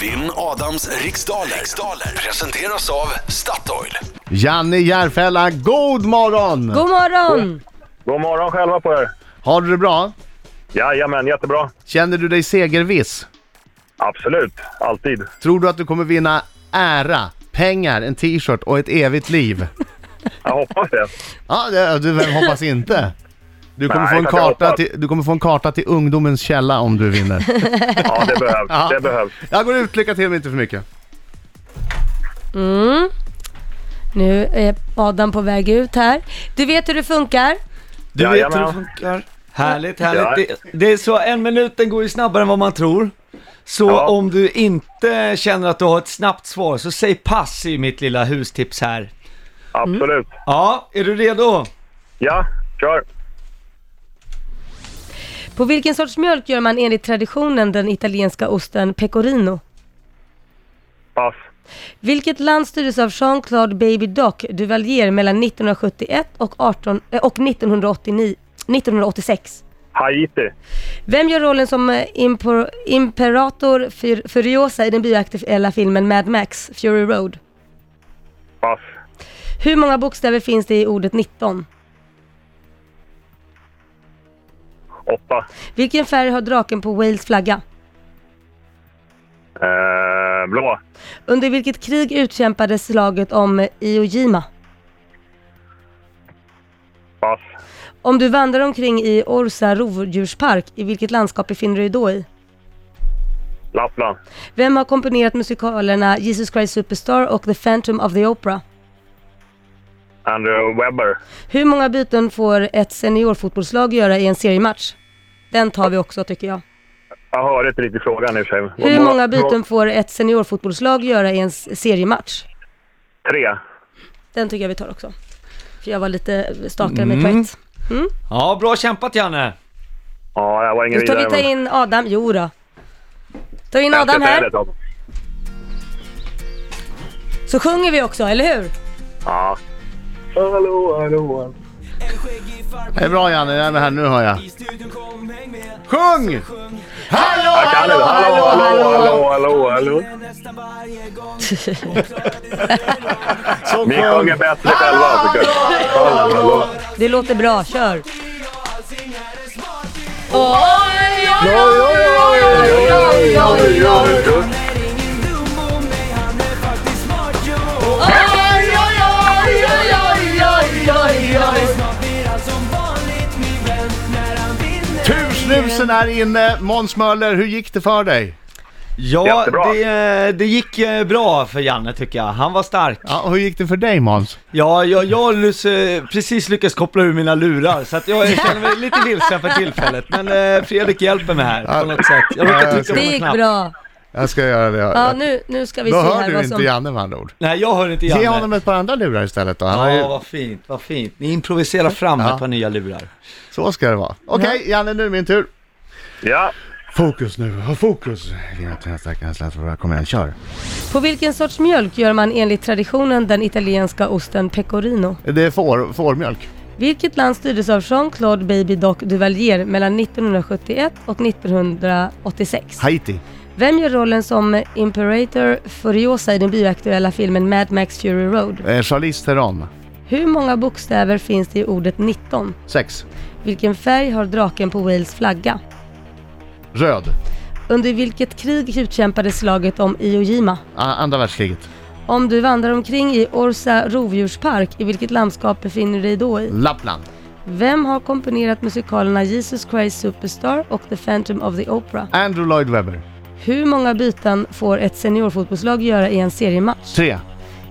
Vinn Adams riksdaler. riksdaler presenteras av Statoil. Janne Järfälla, god morgon! God morgon! God morgon själva på er. Har du det bra? Jajamän, jättebra. Känner du dig segerviss? Absolut, alltid. Tror du att du kommer vinna ära, pengar, en t-shirt och ett evigt liv? Jag hoppas det. Ja, det- du vem hoppas inte? Du kommer, Nej, få en klart jag karta hoppas. till, du kommer få en karta till ungdomens källa om du vinner. Ja, det behövs. Ja. Det behövs. Jag går ut, lycka till men inte för mycket. Nu är Adam på väg ut här. Du vet hur det funkar. Du vet hur det Jajamän. funkar. Härligt, härligt. Det, det är så, en minuten går ju snabbare än vad man tror. Så Ja. om du inte känner att du har ett snabbt svar, så säg pass i mitt lilla hustips här. Absolut. Ja, är du redo? Ja, kör. På vilken sorts mjölk gör man enligt traditionen den italienska osten pecorino? Pass. Vilket land styrdes av Jean-Claude Baby Doc Duvalier mellan 1971 och, 18, eh, och 1989, 1986? Haiti. Vem gör rollen som eh, impor, imperator Fur- Furiosa i den bioaktuella filmen Mad Max, Fury Road? Pass. Hur många bokstäver finns det i ordet 19? Åtta. Vilken färg har draken på Wales flagga? Eh, blå. Under vilket krig utkämpades slaget om Iwo Jima? Pass. Om du vandrar omkring i Orsa rovdjurspark, i vilket landskap befinner du dig då i? Lappland. Vem har komponerat musikalerna Jesus Christ Superstar och The Phantom of the Opera? Andrew Webber. Hur många byten får ett seniorfotbollslag göra i en seriematch? Den tar vi också tycker jag. Jag hörde inte riktigt frågan i och för sig. Hur många byten får ett seniorfotbollslag göra i en s- seriematch? Tre. Den tycker jag vi tar också. För jag var lite stakare med mm. poäng. Ja, bra kämpat Janne. Ja, det var ingen Nu tar vi ta in Adam. Jo då. Ta in Adam här, så sjunger vi också, eller hur? Ja. Hallå, hallå. Det är bra Janne, jag är med här, nu hör jag. Sjung! Hallå, Kalle, hallå, hallå, hallå, hallå, hallå, hallå. Så Ni sjunger bättre själva. alltså. Hallå, hallå. Det låter bra, kör. Tursnusen är inne. Måns Möller, hur gick det för dig? Ja, Jättebra. det, eh, det gick eh, bra för Janne tycker jag. Han var stark. Ja, hur gick det för dig Måns? Ja, jag, jag har lyss- eh, precis lyckats koppla ur mina lurar, så att jag känner mig lite vilsen för tillfället. Men eh, Fredrik hjälper mig här på något sätt. Jag Ja, råkade trycka på Det en gick knapp. bra. Jag ska göra det. Ja, nu, nu ska vi Då se hör här du vad inte som... Janne med andra ord. Nej, jag hör inte Ge Janne. honom ett par andra lurar istället då. Han har Ja, ju... vad fint, vad fint. Ni improviserar fram Ja. ett par nya lurar. Så ska det vara. Okej, Janne nu är min tur. Ja. Fokus nu, ha fokus. Kom igen, kör. På vilken sorts mjölk gör man enligt traditionen den italienska osten pecorino? Det är får, fårmjölk. Vilket land styrdes av Jean-Claude Baby Doc Duvalier mellan 1971 och 1986? Haiti. Vem gör rollen som Imperator Furiosa i den bioaktuella filmen Mad Max Fury Road? Eh, Charlize Theron. Hur många bokstäver finns det i ordet 19? Sex. Vilken färg har draken på Wales flagga? Röd. Under vilket krig utkämpades slaget om Iwo Jima? A- andra världskriget. Om du vandrar omkring i Orsa rovdjurspark, i vilket landskap befinner du dig då i? Lappland. Vem har komponerat musikalerna Jesus Christ Superstar och The Phantom of the Opera? Andrew Lloyd Webber. Hur många byten får ett seniorfotbollslag göra i en seriematch? Tre.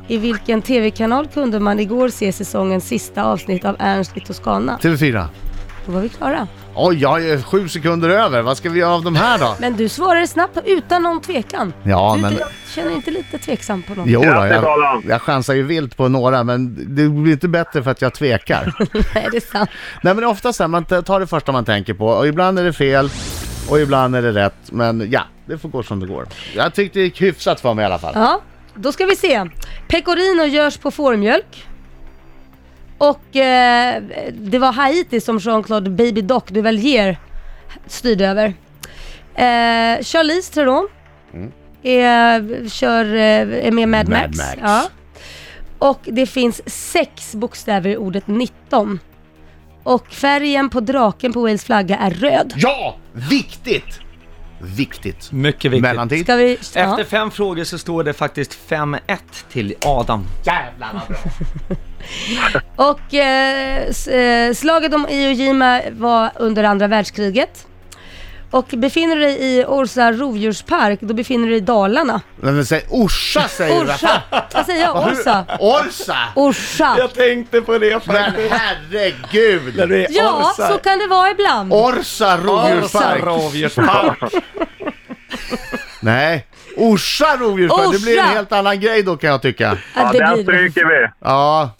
I vilken TV-kanal kunde man igår se säsongens sista avsnitt av Ernst i Toscana? TV4. Då var vi klara. Oj, jag är sju sekunder över. Vad ska vi göra av de här då? Men du svarade snabbt och utan någon tvekan. Ja, du men- du känner inte lite tveksam på något? Jo då, Grattis, jag, Adam. jag chansar ju vilt på några, men det blir inte bättre för att jag tvekar. Nej, det är sant. Nej men oftast är man t- tar det första man tänker på och ibland är det fel och ibland är det rätt. Men ja, det får gå som det går. Jag tyckte det gick hyfsat för mig i alla fall. Ja, då ska vi se. Pecorino görs på fårmjölk. Och eh, det var Haiti som Jean-Claude Baby Doc Duvalier styrde över. Eh, Charlize Theron är, kör, eh, är med Mad, Mm. Mad Max. Max. Ja. Och det finns sex bokstäver i ordet 19. Och färgen på draken på Wales flagga är röd. Ja! Viktigt! Viktigt. Mycket viktigt. Mellantid. Ska vi... Efter fem frågor så står det faktiskt 5-1 till Adam. Jävlar vad bra. Och eh, s- eh, slaget om Iwo Jima var under andra världskriget. Och befinner du dig i Orsa rovdjurspark, då befinner du dig i Dalarna. Nej, men säg Orsa säger du. Orsa! Vad säger jag? Orsa? Orsa! Orsa! tänkte på det Men herregud! det är Ja, så kan det vara ibland. Orsa Orsa rovdjurspark. rovdjurspark. Nej, Orsa rovdjurspark. Det blir en Orsa! helt annan grej då kan jag tycka. Ja, Ja, det den blir stryker vi. Ja,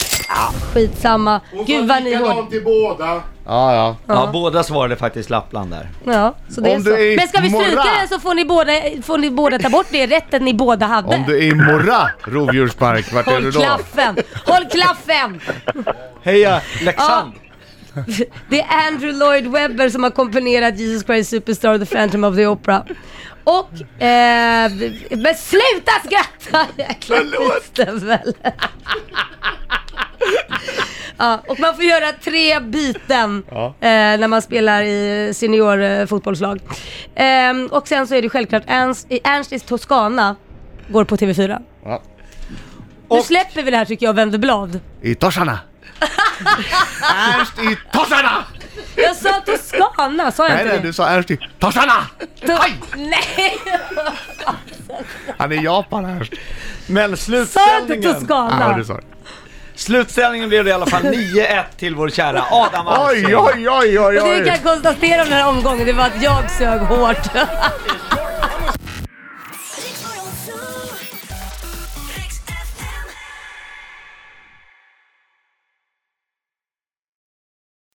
skitsamma. Gud vad ni är hård. till båda. Ja, ja. Ja, båda svarade faktiskt Lappland där. Ja, så det Om är du är i så. Men ska vi stryka morra- den så får ni, båda, får ni båda ta bort det rätten ni båda hade. Om du är i Morra rovdjurspark, vart är du Håll då? klaffen! Håll klaffen! Heja Leksand! Det är Andrew Lloyd Webber som har komponerat Jesus Christ Superstar och The Phantom of the Opera. Och... Eh, men sluta skratta! Förlåt! väl. ja, och man får göra tre byten eh, när man spelar i seniorfotbollslag. Eh, och sen så är det självklart Ernst, i Ernstis Toscana går på TV4. Ja. Nu släpper vi det här tycker jag och vänder blad. I Torsarna. Ernst i Torsarna! Jag sa Toscana, sa jag Nej, inte nej, det? du sa Ernst i Torsarna! Aj! Nej! Han är japan, Ernst. Men Sa jag inte slutställningen, Ja, Toscana? du sa det. slutställningen blev det i alla fall 9-1 till vår kära Adam Oj, Alsing. oj, oj, oj, Och det vi kan oj! konstatera om den här omgången, det var att jag sög hårt. Rick 102.